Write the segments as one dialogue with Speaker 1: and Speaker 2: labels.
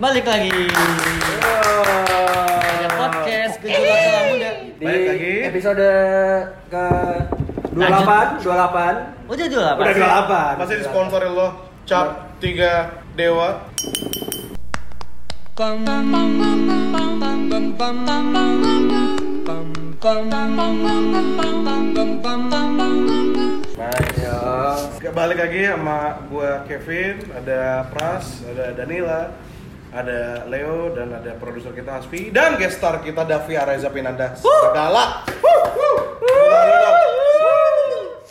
Speaker 1: Balik lagi ada podcast gejolak celah muda.
Speaker 2: Di
Speaker 3: Balik lagi.
Speaker 2: episode ke 28, 28.
Speaker 1: Udah jual Oh, apa?
Speaker 3: Udah
Speaker 1: sih?
Speaker 3: dua
Speaker 2: delapan.
Speaker 3: Pasti disponsori lo. Cap 3 Dewa.
Speaker 2: Nah, yo.
Speaker 3: Balik lagi sama gua Kevin, ada Pras, ada Danila, ada Leo dan ada produser kita Aspi dan guest star kita Davi Areza Pinanda. Segala.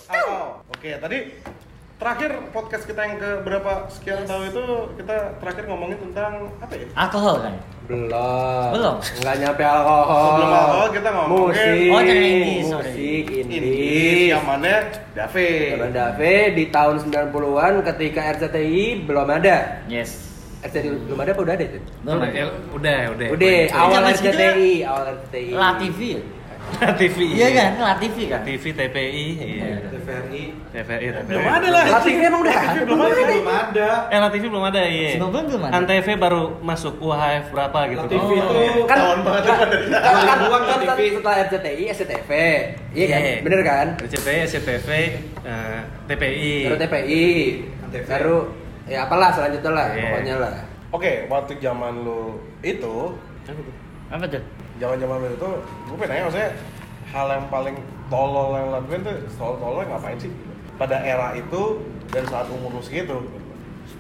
Speaker 3: Atau, Oke, tadi terakhir podcast kita yang ke berapa sekian tahun itu kita terakhir ngomongin tentang apa ya?
Speaker 1: Alkohol kan?
Speaker 2: Belum.
Speaker 1: Belum.
Speaker 2: Nggak nyampe alkohol.
Speaker 3: Sebelum alkohol kita ngomongin-
Speaker 2: musik.
Speaker 1: Oh, jangan indie, sorry.
Speaker 2: musik
Speaker 3: Indis,
Speaker 2: indie.
Speaker 3: yang mana Davi.
Speaker 2: Bang Dave di tahun 90-an ketika RCTI belum ada.
Speaker 1: Yes.
Speaker 2: RCTI belum ada apa udah ada itu?
Speaker 1: Belum.
Speaker 4: Udah, udah, udah.
Speaker 2: Udah, awal
Speaker 1: Zaman segitu
Speaker 2: RCTI, awal RCTI.
Speaker 1: La TV. ya?
Speaker 4: TV.
Speaker 1: Iya kan? La TV kan?
Speaker 4: TV TPI, iya.
Speaker 5: TVRI
Speaker 4: TVRI.
Speaker 3: Belum ada lah.
Speaker 2: La TV emang udah ada,
Speaker 3: Belum ada.
Speaker 5: belum ada.
Speaker 4: Eh, La TV belum ada, iya.
Speaker 1: 90 belum ada.
Speaker 4: Antv baru masuk UHF berapa gitu.
Speaker 5: La TV
Speaker 4: Oh.
Speaker 5: itu
Speaker 2: Kan-
Speaker 3: Tahun banget
Speaker 2: kan-
Speaker 3: ada.
Speaker 2: kan- kan-
Speaker 5: Ribuan
Speaker 2: kan-
Speaker 5: La
Speaker 2: kan
Speaker 5: TV.
Speaker 2: setelah RCTI, SCTV. Iya kan?
Speaker 4: Iya.
Speaker 2: Bener kan?
Speaker 4: RCTI, SCTV, eh, TPI.
Speaker 2: Baru TPI,
Speaker 5: TVRI.
Speaker 2: baru ya apalah selanjutnya lah,
Speaker 4: Iya.
Speaker 2: pokoknya lah.
Speaker 3: Oke, waktu zaman lu itu,
Speaker 1: Apa tuh?
Speaker 3: zaman-zaman lu itu, gue pengen nanya maksudnya hal yang paling tolol yang lu lakuin tuh tolol tolol ngapain sih? Pada era itu dan saat umur lu segitu.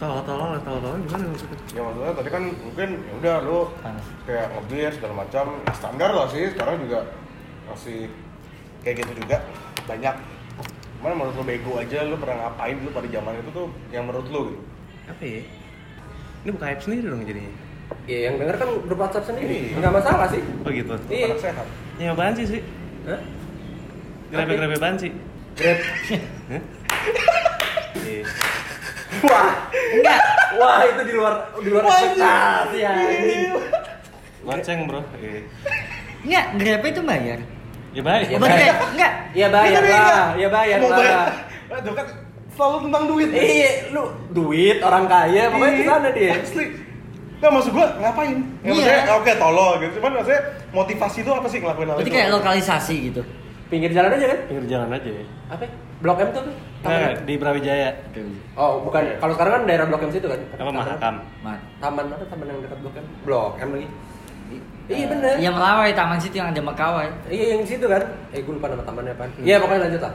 Speaker 4: Tolong, tolong, tolong, tolong, gimana maksudnya?
Speaker 3: Ya maksudnya tadi kan mungkin ya udah lu
Speaker 1: Panas.
Speaker 3: kayak ngebir segala macam ya standar lah sih sekarang juga masih kayak gitu juga banyak Cuman menurut lu bego aja lu pernah ngapain lu pada zaman itu tuh yang menurut lu gitu
Speaker 4: Apa ya? Ini buka hype sendiri dong jadinya.
Speaker 2: Ya yang denger kan grup WhatsApp sendiri,
Speaker 3: Iya.
Speaker 2: nggak masalah sih.
Speaker 4: Oh gitu.
Speaker 3: Lu
Speaker 2: Iya.
Speaker 3: anak sehat
Speaker 4: Ya apaan sih sih?
Speaker 2: Hah?
Speaker 4: Grebe-grebe apaan sih?
Speaker 2: Grab.
Speaker 4: Iya.
Speaker 2: Wah, enggak. Wah, itu di luar di luar ekspektasi ya.
Speaker 4: Goceng bro. Iya.
Speaker 1: Enggak, Grab itu bayar.
Speaker 4: Ya baik.
Speaker 2: Ya,
Speaker 1: Bukan
Speaker 2: bayar.
Speaker 1: kayak enggak.
Speaker 2: Iya bayar lah, iya bayar
Speaker 3: ya, Mau
Speaker 2: lah.
Speaker 3: Aduh kan selalu tentang duit.
Speaker 2: Iya, lu duit orang kaya, pokoknya di sana dia.
Speaker 3: Asli. Nah maksud gua ngapain? Ya,
Speaker 1: Iya.
Speaker 3: maksudnya oke tolol gitu. Cuman maksudnya motivasi itu apa sih ngelakuin hal
Speaker 1: Berarti
Speaker 3: itu?
Speaker 1: kayak lokalisasi gitu.
Speaker 2: Pinggir jalan aja kan?
Speaker 4: Pinggir jalan aja ya.
Speaker 2: Apa? ya? Blok M tuh? kan?
Speaker 4: Nah, di Brawijaya.
Speaker 2: Oh, bukan. Kalau sekarang kan daerah Blok M situ kan?
Speaker 4: Apa Mahakam?
Speaker 1: Mat.
Speaker 2: Taman apa taman yang dekat Blok M? Blok M lagi. Iya
Speaker 1: Eh,
Speaker 2: bener.
Speaker 1: Yang melawai Taman City yang ada Makawai.
Speaker 2: Iya yang di situ kan? Eh gue lupa nama tamannya apa. Iya pokoknya lanjut lah.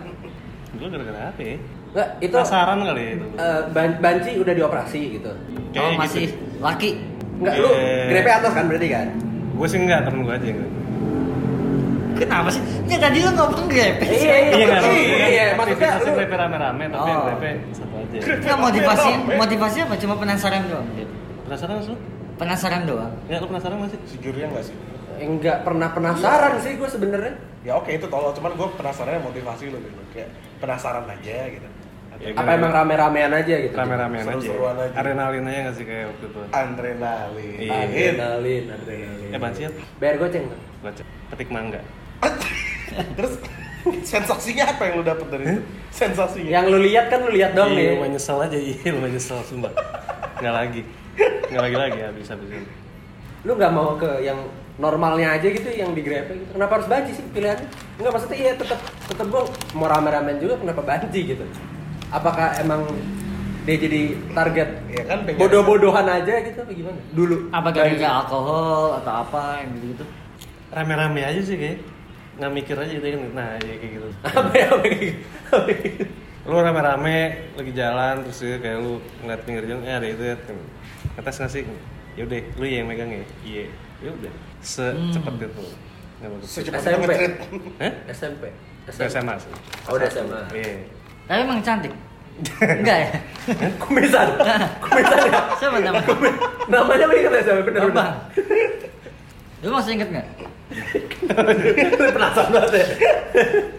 Speaker 4: Gue gara-gara apa ya?
Speaker 2: Enggak itu
Speaker 4: Penasaran kali ya itu.
Speaker 2: eh, ban- banci udah dioperasi gitu.
Speaker 1: Oh
Speaker 4: Kayaknya
Speaker 1: masih
Speaker 4: gitu.
Speaker 1: laki.
Speaker 2: Enggak lu
Speaker 4: Eh.
Speaker 2: grepe atas kan berarti kan?
Speaker 4: Gue sih enggak, temen gue aja
Speaker 2: Eh,
Speaker 4: yang gitu.
Speaker 1: Kenapa sih? Ya tadi lu ngomong Grab.
Speaker 4: Iya
Speaker 2: Iya,
Speaker 4: enggak?
Speaker 2: iya, maksudnya
Speaker 4: Aktivitasnya
Speaker 2: lu-
Speaker 4: grepe rame-rame, tapi
Speaker 2: Oh.
Speaker 4: yang grepe satu aja.
Speaker 1: Enggak Kan motivasi, motivasi apa? Cuma penasaran doang.
Speaker 4: Penasaran nggak sih lu?
Speaker 1: Penasaran doang.
Speaker 4: Ya lu penasaran masih?
Speaker 3: Sejujurnya enggak ya sih?
Speaker 2: Enggak Eh, pernah penasaran sih gue sebenarnya.
Speaker 3: Ya oke itu tolol, cuman gua penasaran motivasi lu gitu. Kayak penasaran aja gitu.
Speaker 2: Apa
Speaker 4: Iya.
Speaker 2: emang rame-ramean aja gitu?
Speaker 4: rame-ramean aja?
Speaker 3: Seru-seruan aja.
Speaker 4: Adrenalin aja nggak sih kayak waktu itu? Eh,
Speaker 3: Adrenalin.
Speaker 4: Iya.
Speaker 2: Adrenalin, adrenalin.
Speaker 4: Eh bansi ya,
Speaker 2: Bayar goceng tuh.
Speaker 4: gue cek. Petik mangga.
Speaker 3: Terus sensasinya apa yang lu dapet dari itu? Sensasinya.
Speaker 2: Yang lu lihat kan lu lihat doang
Speaker 4: Iya,
Speaker 2: nih.
Speaker 4: lumayan nyesel aja, iya lumayan nyesel, sumpah. Nggak lagi. Nggak lagi lagi habis habis ini.
Speaker 2: Lu nggak mau ke yang normalnya aja gitu yang di grepe gitu. Kenapa harus banci sih pilihannya? Enggak maksudnya iya tetap tetap gue mau rame-ramean juga kenapa banci gitu? Apakah emang dia jadi target
Speaker 3: Ya kan pengen-
Speaker 2: bodoh-bodohan aja gitu apa gimana? Dulu
Speaker 1: Apa gitu? gara-gara alkohol atau apa yang gitu-gitu?
Speaker 4: Rame-rame aja sih kayak. Nggak mikir aja gitu kan. Nah, iya kayak gitu.
Speaker 2: apa ya apa kayak gitu? Apa kayak gitu?
Speaker 4: lu rame-rame lagi jalan terus ya kayak lu ngeliat pinggir jalan eh ada itu ya ngetes nggak sih yaudah lu yang megang ya iya yaudah secepat itu nggak bagus Eh?
Speaker 3: Secepat itu
Speaker 2: SMP.
Speaker 3: ngetrit.
Speaker 4: Hah?
Speaker 2: SMP.
Speaker 4: Udah SMA sih
Speaker 2: Oh, udah SMA.
Speaker 4: iya
Speaker 1: Tapi emang cantik. Enggak ya?
Speaker 3: Iya.
Speaker 2: Kumisan. Kumisan ya.
Speaker 1: Siapa namanya?
Speaker 2: Namanya apa ingat ya siapa? Bener bener.
Speaker 1: Bambang. Lu masih inget nggak?
Speaker 2: Lu penasaran banget ya.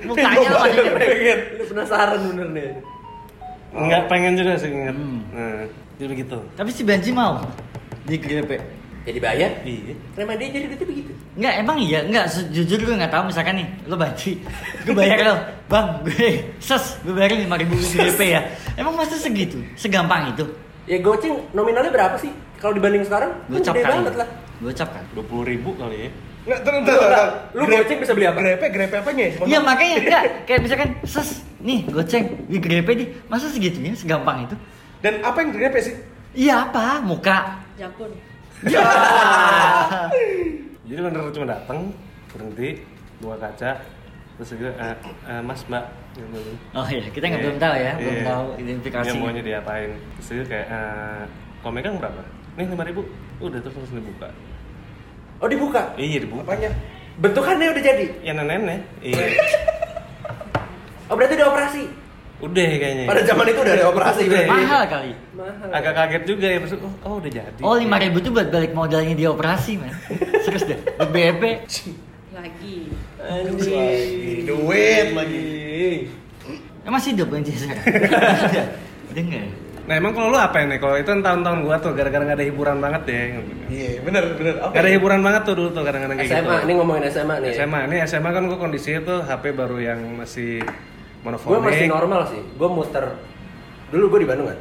Speaker 1: Mukanya gitu? lu masih inget.
Speaker 2: pengen. Lu penasaran bener nih.
Speaker 4: nggak pengen juga sih inget
Speaker 1: Hmm.
Speaker 4: nah jadi begitu
Speaker 1: Tapi si Benji mau di GP.
Speaker 2: Jadi bayar.
Speaker 4: iya
Speaker 2: Kenapa dia jadi gitu begitu?
Speaker 1: Enggak, emang iya, enggak sejujur gue nggak tahu misalkan nih, lu banci, gue bayar lo, bang, eh, gue ses, gue bayarin lima ribu GP ya, emang masa segitu, segampang itu?
Speaker 2: Ya goceng nominalnya berapa sih? Kalau dibanding sekarang, kan
Speaker 1: Gocap
Speaker 2: gede
Speaker 1: kali. ya.
Speaker 2: banget lah.
Speaker 1: Gocap kan.
Speaker 4: dua puluh ribu kali ya
Speaker 3: Nggak, ntar, ntar,
Speaker 2: Lu
Speaker 3: ntar,
Speaker 2: nggak-
Speaker 3: ntar.
Speaker 2: lu
Speaker 3: Grape-
Speaker 2: goceng bisa beli apa?
Speaker 3: Grepe, grepe ya? apa nih?
Speaker 1: Iya makanya enggak kayak misalkan ses nih goceng di grepe nih masa segitunya segampang itu?
Speaker 3: Dan apa yang grepe sih?
Speaker 1: Iya apa muka?
Speaker 5: Jampun.
Speaker 4: jadi bener cuma datang berhenti dua kaca terus gitu "Eh, eh, mas mbak gitu.
Speaker 1: Oh iya kita nggak belum tahu ya belum
Speaker 4: Iya.
Speaker 1: tahu identifikasi.
Speaker 4: Dia maunya diapain terus dia kayak eh, kalau megang berapa nih lima ribu udah terus langsung dibuka
Speaker 2: Oh dibuka.
Speaker 4: iya dibuka
Speaker 3: Apanya?
Speaker 2: Bentukannya udah jadi.
Speaker 4: ya nenek iya
Speaker 2: Oh berarti udah operasi.
Speaker 4: udah kayaknya
Speaker 2: Iya. Pada zaman itu udah ada operasi
Speaker 4: Udah.
Speaker 2: berarti.
Speaker 1: Mahal kali.
Speaker 2: Mahal.
Speaker 4: agak kaget juga ya maksud oh, oh, udah jadi
Speaker 1: Oh lima ribu tuh buat balik modalnya di operasi man. Serius deh. Buat E BEP.
Speaker 5: Lagi.
Speaker 3: Lagi, duit lagi.
Speaker 1: Emang sih hidup anjir saya. Dengar.
Speaker 4: nah emang kalau lu apa nih kalau itu tahun-tahun gua tuh gara-gara nggak ada hiburan banget ya, deh
Speaker 3: Iya, bener, bener. Apa? ya?
Speaker 4: Gak ada hiburan banget tuh dulu tuh kadang-kadang kayak
Speaker 2: SMA, ini
Speaker 4: gitu.
Speaker 2: ngomongin SMA nih.
Speaker 4: SMA, ini SMA kan gua kondisinya tuh HP baru yang masih
Speaker 2: Gue
Speaker 4: monofonik.
Speaker 2: masih normal sih. Gue muter. Dulu gue di Bandung kan.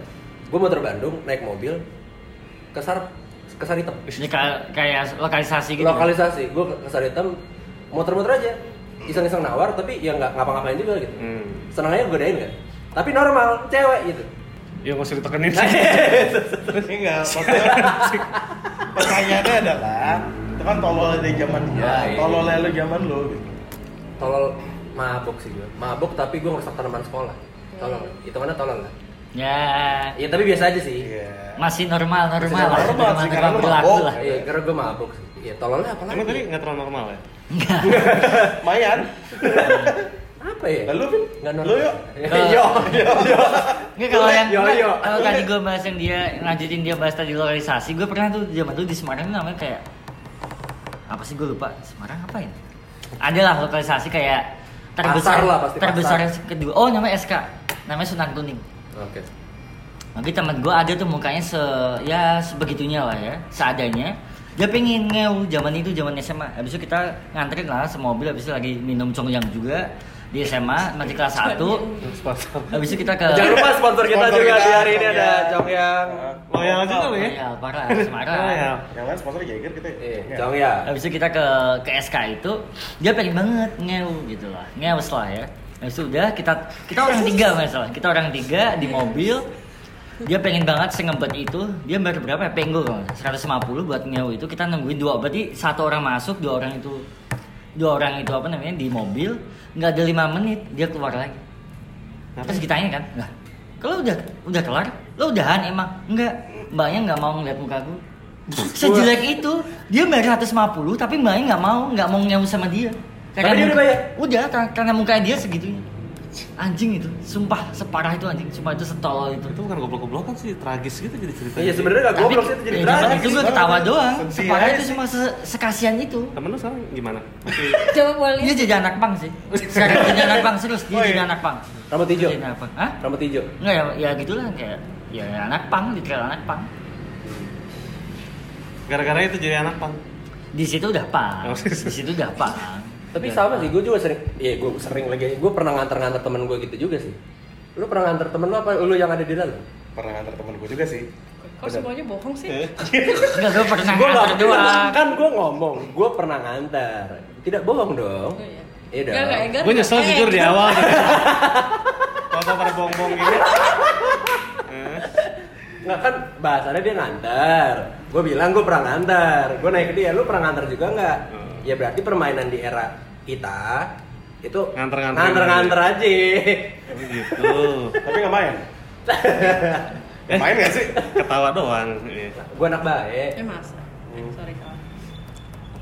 Speaker 2: Gue muter Bandung, naik mobil, kesar kesar hitam.
Speaker 1: Ini ka- kayak lokalisasi gitu.
Speaker 2: Lokalisasi, gue kesar hitam, muter-muter aja. Iseng-iseng nawar, tapi ya nggak ngapa-ngapain juga gitu.
Speaker 4: Hmm.
Speaker 2: Senangnya gue godain kan. Tapi normal, cewek gitu.
Speaker 4: Ya nggak usah ditekenin sih.
Speaker 3: Enggak, maksudnya pertanyaannya adalah itu kan tololnya dari zaman dia,
Speaker 2: Ah, iya.
Speaker 3: tololnya lu zaman lu gitu.
Speaker 2: Tolol mabuk sih gue. Mabuk tapi gue ngerusak tanaman sekolah.
Speaker 3: Iya.
Speaker 2: Tolol, itu mana tolol lah.
Speaker 1: Ya
Speaker 2: Ya tapi biasa aja sih.
Speaker 3: Iya.
Speaker 1: masih normal normal.
Speaker 3: Masih normal sih, karena lu
Speaker 1: berlaku
Speaker 3: mabok.
Speaker 1: lah.
Speaker 2: Iya, karena gue mabuk sih. Ya tololnya apa
Speaker 4: Emang tadi
Speaker 2: lagi?
Speaker 4: nggak terlalu normal ya?
Speaker 3: Mayan.
Speaker 2: Apa ya?
Speaker 3: Lalu Vin,
Speaker 2: Nggak normal.
Speaker 3: lu yuk.
Speaker 1: Eh,
Speaker 2: Yo,
Speaker 3: Iya,
Speaker 2: yo, yo.
Speaker 1: Nggak kalau yang
Speaker 2: Yo, yo.
Speaker 1: kalau tadi gue bahas yang dia yang lanjutin dia bahas tadi lokalisasi, gue pernah tuh zaman dulu di Semarang tuh namanya kayak apa sih gue lupa Semarang apa ya? Adalah lokalisasi kayak terbesar
Speaker 2: Pasar lah, pasti
Speaker 1: terbesar
Speaker 2: pasar.
Speaker 1: kedua. Oh namanya SK, namanya Sunan Kuning.
Speaker 2: Oke.
Speaker 1: Nanti teman gue ada tuh mukanya se ya sebegitunya lah ya, seadanya. Dia pengen ngeu zaman itu zaman SMA. Habis itu kita nganterin lah semobil habis itu lagi minum congyang juga di SMA masih kelas 1.
Speaker 4: Sponsor.
Speaker 1: Habis itu kita ke
Speaker 2: Jangan lupa sponsor kita
Speaker 3: Sponsor
Speaker 2: juga
Speaker 3: kita, Iya.
Speaker 2: di hari ini
Speaker 3: Cong
Speaker 2: ada
Speaker 3: Yang.
Speaker 2: Cong Yang.
Speaker 4: Loyal aja tuh lu ya.
Speaker 1: Royal, Iya, parah,
Speaker 4: Loyal.
Speaker 1: Semarang.
Speaker 3: Yang lain sponsornya Jaeger kita ya.
Speaker 2: Eh,
Speaker 3: Iya.
Speaker 2: Cong Yang.
Speaker 1: Habis itu kita ke ke SK itu, dia pengen banget ngeu gitu lah, ngeus lah ya. Habis itu udah kita kita orang tiga masalah, kita orang tiga di mobil. Dia pengen banget sengempet itu, dia bayar berapa ya? Penggo kalau nggak salah, 150 buat ngeu itu kita nungguin dua, berarti satu orang masuk, dua orang itu dua orang itu apa namanya di mobil nggak ada lima menit dia keluar lagi
Speaker 4: Nah,
Speaker 1: terus ditanya kan lah kalau udah udah kelar lo udahan emang enggak mbaknya nggak mau ngeliat muka gue sejelek itu dia bayar 150 tapi mbaknya nggak mau nggak mau nyewa sama dia
Speaker 2: Tapi
Speaker 1: muka-
Speaker 2: dia udah bayar?
Speaker 1: udah kar- karena mukanya dia segitunya anjing itu sumpah separah itu anjing sumpah itu setolol itu
Speaker 4: Itu bukan goblok-goblokan sih, tragis gitu jadi ceritanya.
Speaker 2: Iya sebenarnya gak
Speaker 1: Tapi-
Speaker 2: goblok sih itu jadi
Speaker 1: ya,
Speaker 2: tragis.
Speaker 1: zaman itu gue ketawa
Speaker 3: banget.
Speaker 1: doang
Speaker 3: Sedih
Speaker 1: separah
Speaker 3: aja
Speaker 1: itu
Speaker 3: sih.
Speaker 1: cuma se- sekasian itu
Speaker 4: Temen lu sekarang gimana? Masih
Speaker 5: Coba boleh.
Speaker 1: dia jadi anak pang sih sekarang jadi anak pang serius dia
Speaker 3: Oh, iya.
Speaker 1: jadi anak pang
Speaker 2: Rambut hijau.
Speaker 1: jadi anak pang Hah?
Speaker 2: Rambut hijau.
Speaker 1: Enggak ya, ya gitulah kayak ya anak pang, dikira anak pang.
Speaker 4: gara-gara itu jadi anak pang.
Speaker 1: Di situ udah pang,
Speaker 4: Oh,
Speaker 1: di situ udah pang.
Speaker 2: Tapi
Speaker 1: Udah
Speaker 2: sama
Speaker 1: pang.
Speaker 2: sih, gue juga sering, iya gue sering lagi, gue pernah nganter-nganter temen gue gitu juga sih. Lu pernah nganter temen lu apa lu yang ada di dalam?
Speaker 3: Pernah ngantar temen gue juga sih.
Speaker 5: Kok semuanya bohong
Speaker 4: Iya
Speaker 5: sih?
Speaker 1: Enggak gue pernah
Speaker 2: Gue
Speaker 1: nganter
Speaker 2: nggak
Speaker 1: doang.
Speaker 2: pernah, kan gue ngomong, gue pernah nganter. Tidak bohong dong.
Speaker 5: Iya.
Speaker 2: Iya dong.
Speaker 5: Enggak, enggak, enggak.
Speaker 4: Gue nyesel
Speaker 5: Eh,
Speaker 4: jujur di
Speaker 5: enggak.
Speaker 4: awal. Kalau pada bohong-bohong gitu. Eh,
Speaker 2: Nggak kan bahasannya dia nganter. Gue bilang gue pernah nganter. Gue naik ke dia, lu pernah nganter juga nggak?
Speaker 4: Hmm.
Speaker 2: Ya berarti permainan di era kita itu
Speaker 4: Nganter-nganter.
Speaker 2: nganter-nganter aja.
Speaker 4: Gitu.
Speaker 3: Tapi nggak main. main nggak sih?
Speaker 4: Ketawa doang. Iya.
Speaker 2: gue anak baik.
Speaker 5: Eh masa. Sorry kawan.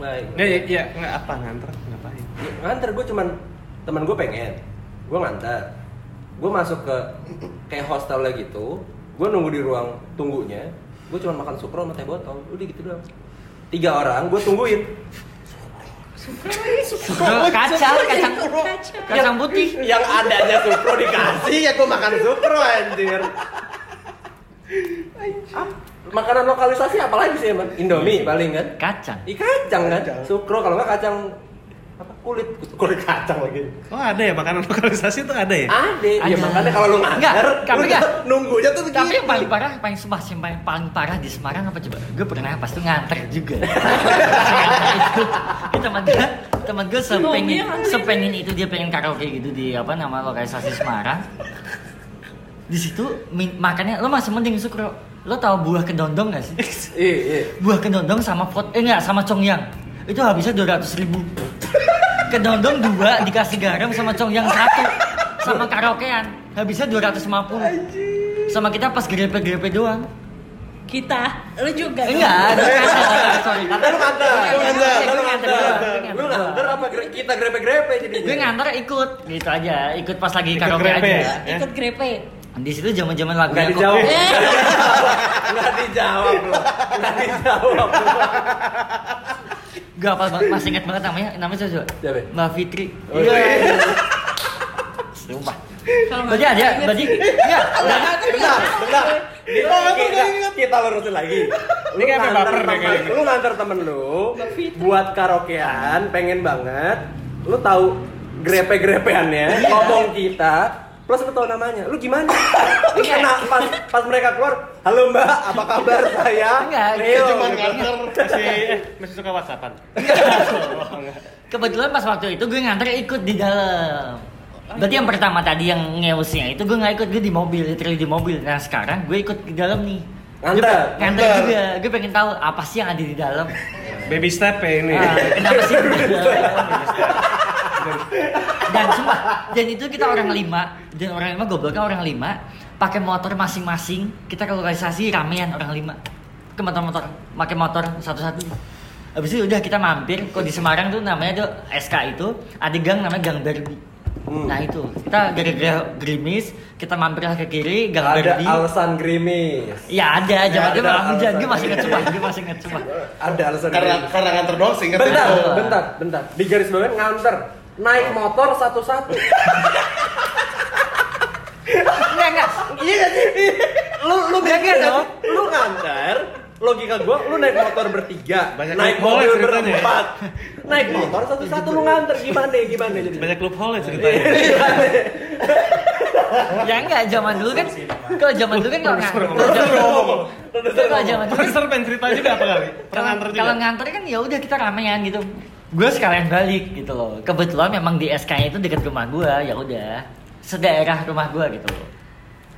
Speaker 2: Baik.
Speaker 4: Nggak, ya, ya, nggak apa nganter, ngapain?
Speaker 2: Ya, nganter gue cuman teman gue pengen gue nganter gue masuk ke kayak hostel lah gitu gue nunggu di ruang tunggunya gue cuman makan sukro sama teh botol udah gitu doang tiga orang gue tungguin
Speaker 1: Bro, Kacang, kacang, kacang putih.
Speaker 2: yang adanya sukro dikasih ya gue makan sukro anjir Ap- makanan lokalisasi apa lagi sih emang indomie paling kan
Speaker 1: Kacang.
Speaker 2: Ih, kacang kan
Speaker 3: Kacang.
Speaker 2: sukro kalau nggak kacang apa kulit kulit kacang lagi
Speaker 4: Oh ada ya makanan lokalisasi tuh ada ya?
Speaker 2: ada
Speaker 1: Ada.
Speaker 2: ya makanya kalau lu
Speaker 1: Enggak,
Speaker 2: ngadar
Speaker 1: tapi
Speaker 2: lu
Speaker 1: enggak.
Speaker 2: nunggunya tuh
Speaker 1: Tapi
Speaker 2: begitu.
Speaker 1: yang paling parah, paling sumpah, yang paling, paling parah di Semarang apa coba? Gue pernah pas tuh nganter juga. itu, itu teman gue, teman gue sepengin,
Speaker 5: Mobil.
Speaker 1: sepengin itu dia pengen karaoke gitu di apa nama lokalisasi Semarang. Di situ min- makannya lo masih mending sukro. Lo tahu buah kedondong gak sih?
Speaker 2: iya iya
Speaker 1: Buah kedondong sama pot, eh enggak sama congyang. Itu habisnya dua ratus ribu. Kedondong dua dikasih garam sama congyang satu sama karaokean habisnya 250 sama kita pas grepe-grepe doang
Speaker 5: Kita, lu juga. dong.
Speaker 1: Enggak, lu nganter, sorry.
Speaker 2: kata lu nganter
Speaker 1: Iya,
Speaker 2: lu
Speaker 1: iya,
Speaker 2: nganter
Speaker 1: iya,
Speaker 2: lu
Speaker 1: gua nganter,
Speaker 2: nganter
Speaker 1: gua nganter.
Speaker 2: lu nganter apa gre- kita grepe grepe jadi
Speaker 1: Gue nganter ikut, gitu aja, ikut pas lagi
Speaker 4: Ikut
Speaker 1: karaoke
Speaker 4: grepe
Speaker 1: aja.
Speaker 4: ya?
Speaker 5: Ikut grepe.
Speaker 1: Di situ zaman-zaman lagu
Speaker 2: nggak dijawab
Speaker 5: Eh.
Speaker 2: nggak dijawab lu nggak dijawab lu
Speaker 1: Gue apa banget, masih ingat banget namanya, namanya siapa? coba?
Speaker 2: Siapa?
Speaker 1: Mbak Fitri.
Speaker 2: Oh, iya.
Speaker 1: Sumpah.
Speaker 5: Kalau
Speaker 1: Berarti ada, berarti Iya. enggak.
Speaker 2: Bentar, bentar, bentar. Kita, kita, kita lurusin lagi. Lu
Speaker 4: Ini kayak
Speaker 2: nganter
Speaker 4: baper deh
Speaker 2: temen-
Speaker 4: kayaknya.
Speaker 2: Lu nganter temen lu buat karaokean, pengen banget. Lu tahu grepe-grepeannya, ngomong kita, plus lu tahu namanya. Lu gimana? Lu kena pas, pas mereka keluar, "Halo Mbak, apa kabar saya?"
Speaker 1: Enggak,
Speaker 2: Leo." gitu.
Speaker 1: cuma
Speaker 4: Kantor masih eh, masih suka whatsappan.
Speaker 1: Kebetulan pas waktu itu gue nganter ikut di dalam. Berarti yang pertama tadi yang ngeusnya itu gue nggak ikut gue di mobil, literally di mobil. Nah sekarang gue ikut di dalam nih.
Speaker 2: Nganter.
Speaker 1: Gue pe- Nganter
Speaker 3: Nganter.
Speaker 1: juga. Gue pengen tahu apa sih yang ada di dalam.
Speaker 4: Baby step ya ini.
Speaker 1: Ah, kenapa sih? dan sumpah, dan itu kita orang lima dan orang lima gobloknya orang lima pakai motor masing-masing kita ke lokalisasi ramean orang lima ke motor-motor pakai motor satu-satu habis itu udah kita mampir kok di Semarang tuh namanya tuh SK itu ada gang namanya Gang Derby
Speaker 2: Hmm.
Speaker 1: nah itu kita gara-gara gerimis kita mampirlah ke kiri Gang
Speaker 2: Ada
Speaker 1: Derby
Speaker 2: alasan gerimis.
Speaker 1: ya ada
Speaker 2: Ya,
Speaker 1: zaman itu
Speaker 2: ada
Speaker 1: malah hujan
Speaker 2: alasan.
Speaker 1: gue masih ngecuman gue masih ngecuman
Speaker 2: Ada alasan
Speaker 3: karena
Speaker 2: gerimis.
Speaker 3: karena nganter doang sih ingatnya.
Speaker 2: Bentar,
Speaker 1: Betul.
Speaker 2: bentar, bentar. Di garis bawahnya nganter. Naik motor satu-satu.
Speaker 1: enggak enggak
Speaker 2: Iya gak sih? Lu lu
Speaker 1: Iya
Speaker 2: mikir
Speaker 1: kan,
Speaker 2: dong. Lu nganter. Logika gua lu naik motor bertiga,
Speaker 4: Banyak
Speaker 2: naik
Speaker 4: loophole
Speaker 2: mobil
Speaker 4: ceritanya ya.
Speaker 2: berempat. Naik motor satu-satu lu nganter gimana ya, Iya. gimana jadi.
Speaker 4: Banyak loophole ya ceritanya.
Speaker 1: ya enggak zaman dulu kan kalau zaman dulu kan kalau nganter kalau zaman dulu
Speaker 4: Profesor pengen cerita juga apa kali? Pernah
Speaker 1: kalau
Speaker 4: nganter juga.
Speaker 1: kalau nganter kan ya udah kita ramean gitu gue sekalian balik gitu loh kebetulan memang di SK nya itu dekat rumah gue ya udah sedaerah rumah gue gitu loh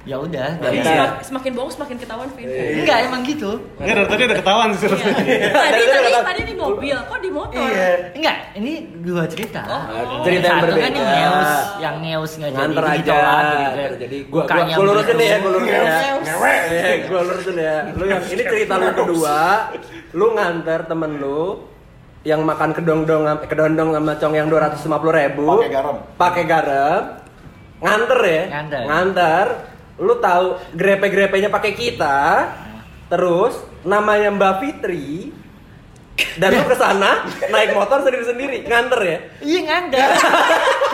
Speaker 1: ya udah dari
Speaker 2: Iya.
Speaker 5: Semakin, semakin bohong semakin ketahuan Vin.
Speaker 1: enggak emang gitu
Speaker 4: Enggak dari tadi udah ketahuan sih
Speaker 5: Iya.
Speaker 4: sebenarnya.
Speaker 5: Tadi
Speaker 2: Tadi
Speaker 5: tadi
Speaker 2: kata-
Speaker 5: tadi di mobil, kok di motor?
Speaker 2: Iya.
Speaker 1: enggak ini dua cerita
Speaker 5: Oh.
Speaker 2: Cerita
Speaker 1: satu
Speaker 2: yang
Speaker 1: kan
Speaker 2: berbeda.
Speaker 1: yang neus yang neus nggak jadi
Speaker 2: Nganter
Speaker 1: itu
Speaker 2: aja.
Speaker 1: ditolak gitu kan.
Speaker 2: Jadi gua gua,
Speaker 1: Mukanya
Speaker 2: gua lurusin deh ya, gua
Speaker 1: begitu.
Speaker 2: lurusin ya.
Speaker 5: Ngeus.
Speaker 2: Iya, gua lurusin ya. Lu yang ini cerita lu kedua, lu nganter temen lu yang makan kedondong eh, kedondong sama cong yang 250 ribu
Speaker 3: Pakai garam.
Speaker 2: pakai garam nganter ya
Speaker 1: Nganter.
Speaker 2: nganter lu tahu grepe grepenya pakai kita terus namanya Mbak Fitri dan lu kesana naik motor sendiri sendiri nganter ya
Speaker 1: Iya nganter.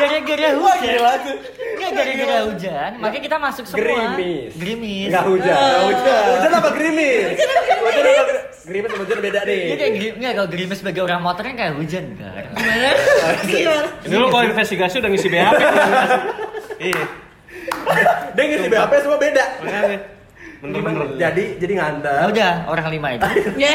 Speaker 1: Gara-gara hujan.
Speaker 2: gila tuh.
Speaker 1: Nggak, gara-gara hujan, makanya kita masuk semua.
Speaker 2: Gerimis.
Speaker 1: Gerimis.
Speaker 2: Enggak hujan. Enggak hujan. Hujan apa gerimis? Hujan apa gerimis? Gerimis sama hujan beda deh.
Speaker 1: Iya kayak gerimis, nggak kalau gerimis sebagai orang motor kan kayak hujan kan.
Speaker 5: Gimana? Gimana?
Speaker 4: Ini lu kalau investigasi udah ngisi BHP. Iya.
Speaker 2: Dia ngisi BHP semua beda.
Speaker 4: Makanya. Bener-bener.
Speaker 2: Jadi jadi
Speaker 1: Nah,
Speaker 2: nganter.
Speaker 1: udah orang lima itu.
Speaker 5: Ya.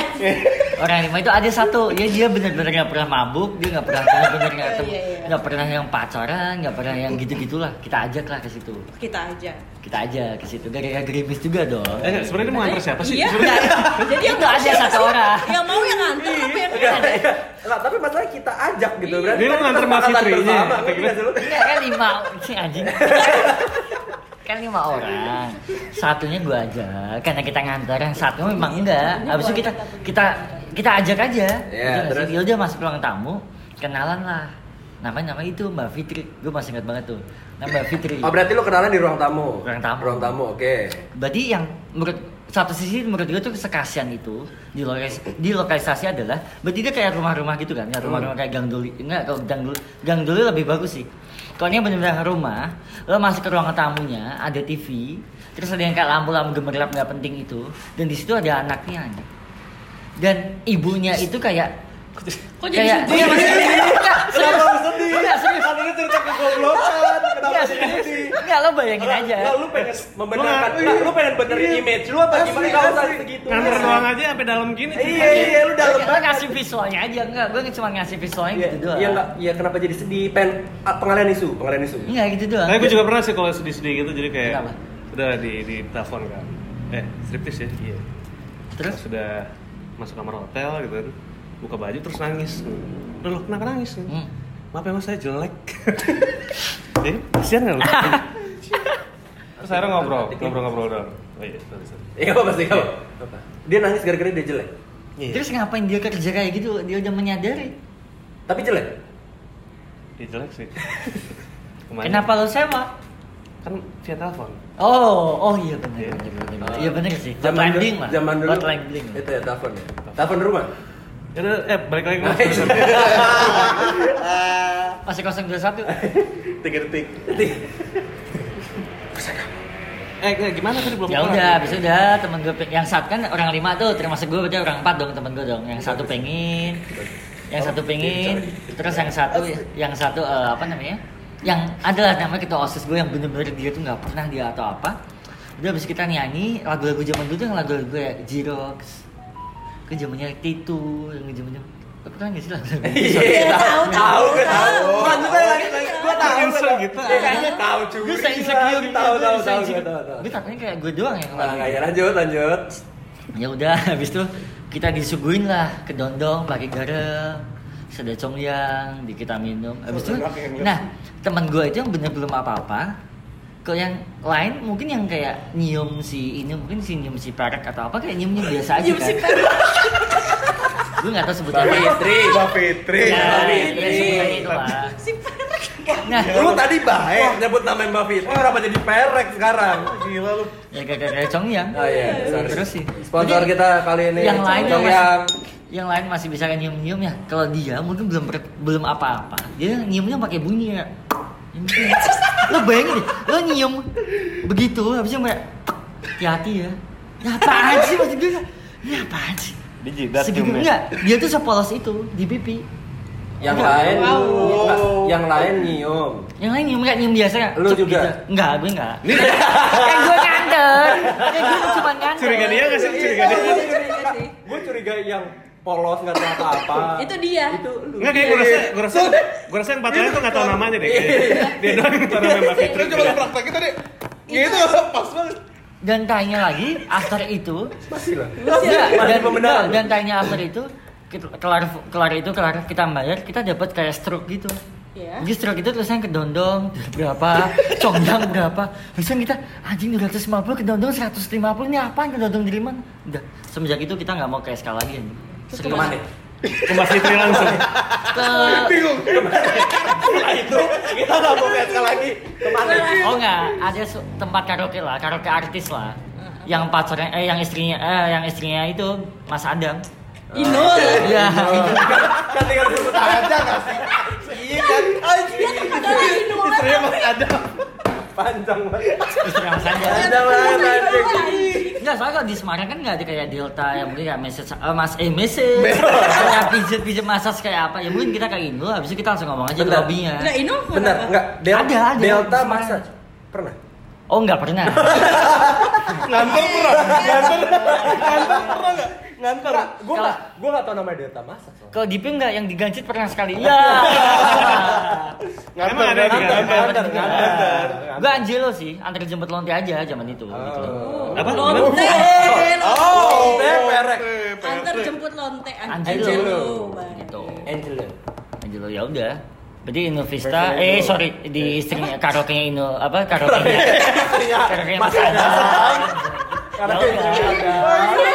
Speaker 1: Orang lima itu ada satu, ya dia benar-benar nggak pernah mabuk, dia nggak pernah benar-benar nggak tem-
Speaker 5: Iya, iya, iya.
Speaker 1: nggak pernah yang pacaran, nggak pernah yang gitu-gitulah. Kita ajak lah ke situ,
Speaker 5: Kita aja.
Speaker 1: kita ajak ke situ. Gara-gara gerimis juga dong.
Speaker 4: Eh, sebenarnya ini mau nganter siapa sih?
Speaker 5: Iya.
Speaker 4: Sebenarnya
Speaker 5: Jadi yang
Speaker 1: Itu
Speaker 5: mau
Speaker 1: ada
Speaker 5: siapa
Speaker 1: satu
Speaker 5: sih?
Speaker 1: orang.
Speaker 5: Yang mau yang nganter
Speaker 2: Iya.
Speaker 5: apa yang
Speaker 2: Enggak,
Speaker 5: ada?
Speaker 2: enggak. Enggak, tapi masalahnya kita ajak gitu. Berarti
Speaker 4: Dia
Speaker 2: kan
Speaker 4: nganter
Speaker 2: kita
Speaker 4: Mbak
Speaker 2: sepakatan
Speaker 4: Fitrinya,
Speaker 2: bersama,
Speaker 4: apa
Speaker 2: ngerti
Speaker 4: gimana?
Speaker 2: nggak sih lu?
Speaker 1: Enggak kan lima si anjing. kan lima orang. Satunya gua aja karena kita nganter, yang satu memang enggak. Habis itu kita kita kita ajak aja.
Speaker 2: Iya,
Speaker 1: Gitu nggak sih?
Speaker 2: terus?
Speaker 1: Ya udah masuk ruang tamu, kenalan lah. Namanya nama itu Mbak Fitri. Gua masih ingat banget tuh. Nama Mbak Fitri.
Speaker 2: Oh, berarti lu kenalan di ruang tamu.
Speaker 1: Ruang tamu.
Speaker 2: Ruang tamu, oke.
Speaker 1: Berarti yang menurut satu sisi menurut gue tuh sekasian itu di lokalis- di lokalisasi adalah berarti dia kayak rumah-rumah gitu kan, ya
Speaker 3: Hmm.
Speaker 1: rumah-rumah kayak gang duli. Enggak, kalau gang duli, gang duli lebih bagus sih. Kalau ini benar-benar rumah, lo masuk ke ruang tamunya, ada TV, terus ada yang kayak lampu-lampu gemerlap nggak penting itu, dan di situ ada anaknya. anjing. Dan ibunya itu kayak
Speaker 5: Kok jadi sedih?
Speaker 1: iya, maksudnya- Enggak,
Speaker 3: ya? Kenapa
Speaker 1: serius.
Speaker 3: lu sedih?
Speaker 1: Enggak, serius.
Speaker 3: Kan ini cerita kegoblokan. Kenapa
Speaker 1: Enggak,
Speaker 3: jadi
Speaker 1: serius.
Speaker 3: sedih?
Speaker 1: Enggak, lo bayangin aja.
Speaker 2: Lah, lu pengen membenarkan,
Speaker 3: Lu-
Speaker 2: lah, lu pengen benerin
Speaker 3: Iya.
Speaker 2: image lu apa
Speaker 3: Asli,
Speaker 2: gimana kalau usah
Speaker 3: asli.
Speaker 2: segitu.
Speaker 4: Nganter doang aja sampai dalam gini.
Speaker 2: Iya, iya, lu dalam
Speaker 1: Gue
Speaker 2: banget.
Speaker 1: ngasih visualnya aja, enggak, gue cuma ngasih visualnya
Speaker 2: Iya,
Speaker 1: gitu doang
Speaker 2: iya enggak, iya kenapa jadi sedih? Pengen ah, pengalian isu, pengalian isu.
Speaker 1: Enggak gitu doang
Speaker 4: Tapi gue juga pernah sih kalau sedih-sedih gitu jadi kayak
Speaker 1: Kenapa?
Speaker 4: udah lah, di di telepon kan. Eh, striptis ya? Iya.
Speaker 1: Terus?
Speaker 4: sudah masuk kamar hotel gitu kan. Buka baju terus nangis. Udah lo kenapa nangis?
Speaker 1: Hmm.
Speaker 4: Maaf ya mas saya jelek. ya, kasihan kan lo? terus akhirnya ngobrol, ngobrol-ngobrol doang. Oh iya, sorry, sorry.
Speaker 2: Iya apa pasti apa? Apa? Dia nangis gara-gara dia jelek.
Speaker 4: Iya.
Speaker 1: Terus ngapain dia kerja kayak gitu, dia udah menyadari
Speaker 2: Tapi jelek.
Speaker 4: Iya jelek sih. Kemarin.
Speaker 1: Kenapa lo sewa?
Speaker 4: Kan via telepon.
Speaker 1: Oh, oh iya bener,
Speaker 4: Iya.
Speaker 1: bener, bener, bener. Iya bener sih,
Speaker 2: Zaman
Speaker 1: hotline
Speaker 2: dulu-
Speaker 1: bling lah
Speaker 2: Zaman dulu.
Speaker 1: Hotline bling lah.
Speaker 2: Itu ya telepon ya. Telepon rumah.
Speaker 4: Ya udah, eh balik
Speaker 2: Iya,
Speaker 4: lagi ke mas.
Speaker 1: Masih 021
Speaker 3: Tiga detik.
Speaker 4: Eh enggak, gimana tadi belum
Speaker 1: Ya
Speaker 4: kelar.
Speaker 1: udah, abis itu udah temen gue peng- Yang satu kan orang lima tuh, termasuk gue berarti orang empat dong temen gue dong Yang satu pengen Yang satu
Speaker 2: Oh, iya,
Speaker 1: pengen Terus yang satu, yang satu eh, apa namanya Yang adalah namanya ketua OSIS gue yang bener-bener dia tuh gak pernah dia atau apa Udah abis kita nyanyi, lagu-lagu zaman dulu tuh yang lagu-lagu kayak Jirox Ke zamannya Titu, yang zamannya Lo pernah gak sih lagu-lagu
Speaker 5: Iya, tahu, tahu,
Speaker 2: gue tahu.
Speaker 5: tahu.
Speaker 2: Maksudnya lagi lagi gue tahu
Speaker 4: Insel gitu.
Speaker 2: Iya, kayaknya tahu curi.
Speaker 1: Gue saya insecure gitu, gue
Speaker 2: Tahu tahu
Speaker 1: saya
Speaker 2: tahu gue
Speaker 1: insecure.
Speaker 2: tahu tahu.
Speaker 1: Gue takutnya kayak gue doang yang
Speaker 2: Nah,
Speaker 1: lagu
Speaker 2: ya lanjut lanjut.
Speaker 1: ya udah habis itu kita disuguhin lah ke dondong pakai garam seda congyang di kita minum habis itu
Speaker 2: Oh,
Speaker 3: Enak ya, enak.
Speaker 1: nah teman gue itu yang bener belum apa apa kalau yang lain mungkin yang kayak nyium si ini mungkin si nyium si perak atau apa kayak nyiumnya biasa aja
Speaker 5: Nyium si
Speaker 1: kan gue nggak tahu
Speaker 2: Mbak
Speaker 1: sebutannya
Speaker 2: Fitri.
Speaker 3: Mbak Fitri.
Speaker 1: ya, ya,
Speaker 2: Mbak Fitri.
Speaker 1: sebutannya itu lah
Speaker 5: Si Perak.
Speaker 1: nah
Speaker 2: Lu tadi baik nyebut nama Mbak Fitri. Kenapa jadi perek sekarang?
Speaker 3: Gila lu.
Speaker 1: ya gara-gara congyang
Speaker 2: Oh iya, sorry.
Speaker 1: terus sih
Speaker 2: Sponsor
Speaker 1: Jadi,
Speaker 2: kita kali ini
Speaker 1: yang lain yang
Speaker 2: Cong
Speaker 1: masih,
Speaker 2: yang
Speaker 1: yang lain masih bisa kan nyium nyium ya kalau dia mungkin belum ber- belum apa-apa dia nyiumnya pakai bunyi ya lo bayangin deh lo nyium begitu habisnya kayak hati-hati ya ya apaan sih maksud gue ya apaan sih
Speaker 4: Dijidat
Speaker 1: segitu
Speaker 2: ya?
Speaker 1: enggak dia tuh sepolos itu di pipi
Speaker 2: yang lain Enggak,
Speaker 5: Wow.
Speaker 2: yang lain nyium.
Speaker 1: yang lain nyium nggak nyium biasa nggak?
Speaker 2: Lu
Speaker 1: Cep
Speaker 2: juga?
Speaker 1: gitu. enggak gue enggak kan gue nganter kan gue cuma nganter
Speaker 4: Curiga dia nggak sih? Curiga dia.
Speaker 5: Iya, curiga sih.
Speaker 2: Gue curiga yang polos nggak tahu apa-apa.
Speaker 5: Itu dia.
Speaker 2: Itu lu.
Speaker 4: Enggak kayak gue rasa, gue rasa, gue rasa yang empat lain tuh nggak tahu namanya deh. kayaknya. Dia doang yang tahu nama Mbak Fitri.
Speaker 3: Kita coba praktekin tadi. Gitu pas banget.
Speaker 1: dan tanya lagi after itu
Speaker 2: Masih lah.
Speaker 5: Masih
Speaker 1: Iya,
Speaker 2: Masih
Speaker 1: dan,
Speaker 2: pembenaran.
Speaker 1: dan tanya after itu kita- kelar kelar itu kelar kita bayar kita dapat kayak stroke gitu
Speaker 5: Iya.
Speaker 1: Jadi stroke itu tulisan kedondong berapa, congyang berapa. Terus kita anjing 250 kedondong 150 ini apaan kedondong dari mana? Udah semenjak itu kita nggak mau ke SK lagi. anjing. Serius.
Speaker 5: Terus
Speaker 2: Kemana?
Speaker 4: Ke Mbak Fitri langsung.
Speaker 1: Ke-
Speaker 2: Setelah Nah, itu kita nggak mau PSK lagi. Kemana?
Speaker 1: oh nggak, ada su- tempat karaoke lah, karaoke artis lah. Yang pacarnya eh yang istrinya eh yang istrinya itu Mas Adam.
Speaker 5: Inul.
Speaker 1: Iya.
Speaker 2: Kan tinggal disebut aja nggak sih? Iya kan?
Speaker 5: Dia
Speaker 2: Anjing.
Speaker 5: adalah Inul.
Speaker 3: Istrinya masih ada.
Speaker 2: Panjang banget.
Speaker 1: Istrinya Mas Adam.
Speaker 2: Panjang banget anjing.
Speaker 1: Enggak, soalnya kalau di Semarang kan nggak ada kayak Delta yang mungkin kayak message eh, mas eh message kayak pijet pijet massage kayak apa ya mungkin kita kayak Indo habis itu kita langsung ngomong aja
Speaker 2: Bentar.
Speaker 1: lobbynya
Speaker 5: Nah, Inul mana?
Speaker 2: Benar, enggak? Delta,
Speaker 1: Ada, ada.
Speaker 2: Delta
Speaker 1: Semangat.
Speaker 2: maksa. Pernah?
Speaker 1: oh nggak pernah
Speaker 3: Ngantor
Speaker 5: Iya.
Speaker 3: pernah.
Speaker 2: Nganter. Gue nggak, gue nggak tahu namanya Delta maksa. soalnya.
Speaker 1: kalau Dipin nggak yang digancit pernah sekali iya
Speaker 4: Emang ada yang
Speaker 2: Nganter,
Speaker 4: diganti?
Speaker 2: nganter, nganter.
Speaker 1: gue Angelo sih antar jemput lonte aja zaman itu gitu loh.
Speaker 2: Oh.
Speaker 4: Apa?
Speaker 5: Lonte.
Speaker 2: Oh,
Speaker 5: Lonte.
Speaker 2: teh perek.
Speaker 5: Antar Iya. jemput lonte.
Speaker 1: Angelo.
Speaker 5: Angelo.
Speaker 1: gitu
Speaker 2: Angela.
Speaker 1: Angelo ya udah Berarti Indo Vista, eh sorry di istrinya karaoke Indo apa
Speaker 2: Iya.
Speaker 1: karaoke karaoke Mas Adam.
Speaker 2: Karena
Speaker 1: Ya udah.
Speaker 5: Masih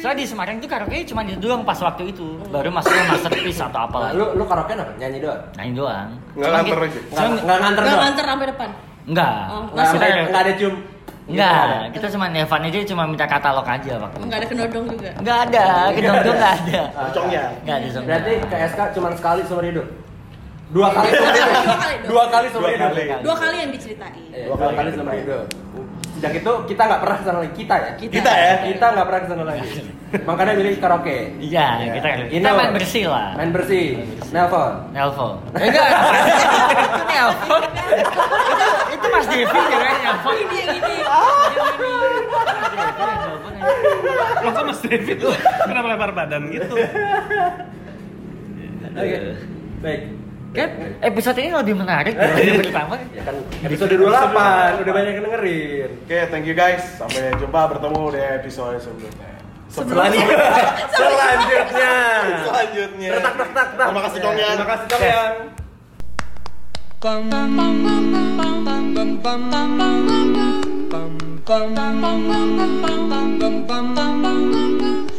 Speaker 1: Soalnya di Semarang itu karaoke cuma itu doang pas waktu itu. Baru masuknya masterpiece atau apa
Speaker 2: Nah,
Speaker 1: lagi.
Speaker 2: lu lu karaoke apa? Nyanyi doang.
Speaker 1: Nyanyi doang.
Speaker 3: Nggak
Speaker 1: Cuman
Speaker 3: nganter
Speaker 1: kita-
Speaker 3: aja?
Speaker 2: Nggak nggak nganter
Speaker 5: ada. Gak
Speaker 2: doang.
Speaker 5: antar sampai depan.
Speaker 1: Enggak.
Speaker 2: Nggak
Speaker 5: Oh, langsung.
Speaker 1: kita,
Speaker 2: sampai- nggak ada cium. Gitu.
Speaker 1: enggak. Kita cuma Evan aja cuma minta katalog aja waktu itu.
Speaker 5: Enggak ada kenodong juga.
Speaker 1: Enggak ada, gedung-gedung enggak ada.
Speaker 3: Congnya.
Speaker 2: ya?
Speaker 1: Enggak ada sama.
Speaker 2: Berarti ke SK cuma sekali seumur hidup. Dua kali seumur hidup.
Speaker 5: Dua kali, dua
Speaker 2: Dua kali seumur
Speaker 3: Dua
Speaker 2: hidup.
Speaker 3: kali.
Speaker 5: Dua kali yang diceritain.
Speaker 2: Eh, Dua kali seumur hidup. sejak itu kita nggak pernah kesana lagi kita ya
Speaker 1: Kita.
Speaker 3: Kita ya?
Speaker 2: kita nggak pernah kesana lagi makanya milih karaoke
Speaker 1: Iya,
Speaker 3: Iya.
Speaker 1: kita
Speaker 2: Ini
Speaker 1: kita
Speaker 2: loh.
Speaker 1: main bersih lah.
Speaker 2: main bersih nelpon
Speaker 1: Nelfon. Eh, enggak. Itu Nelfon. Itu- Itu Mas Devi ya kan nelfon.
Speaker 5: Ini dia gini.
Speaker 4: Lo kok Mas David tuh kenapa lempar badan gitu?
Speaker 2: oke baik
Speaker 1: Kan episode ini lebih menarik dari yang pertama.
Speaker 2: ya kan episode 28 udah banyak yang dengerin
Speaker 3: Oke, thank you guys. Sampai jumpa bertemu di episode sebelumnya.
Speaker 2: selanjutnya selanjutnya
Speaker 3: Selanjutnya.
Speaker 2: tak tak tak tak
Speaker 3: Terima kasih Kong Yan.
Speaker 2: terima kasih Kong Yan
Speaker 6: Bum bum bum bum bum bum bum bum bum bum bum bum bum bum bum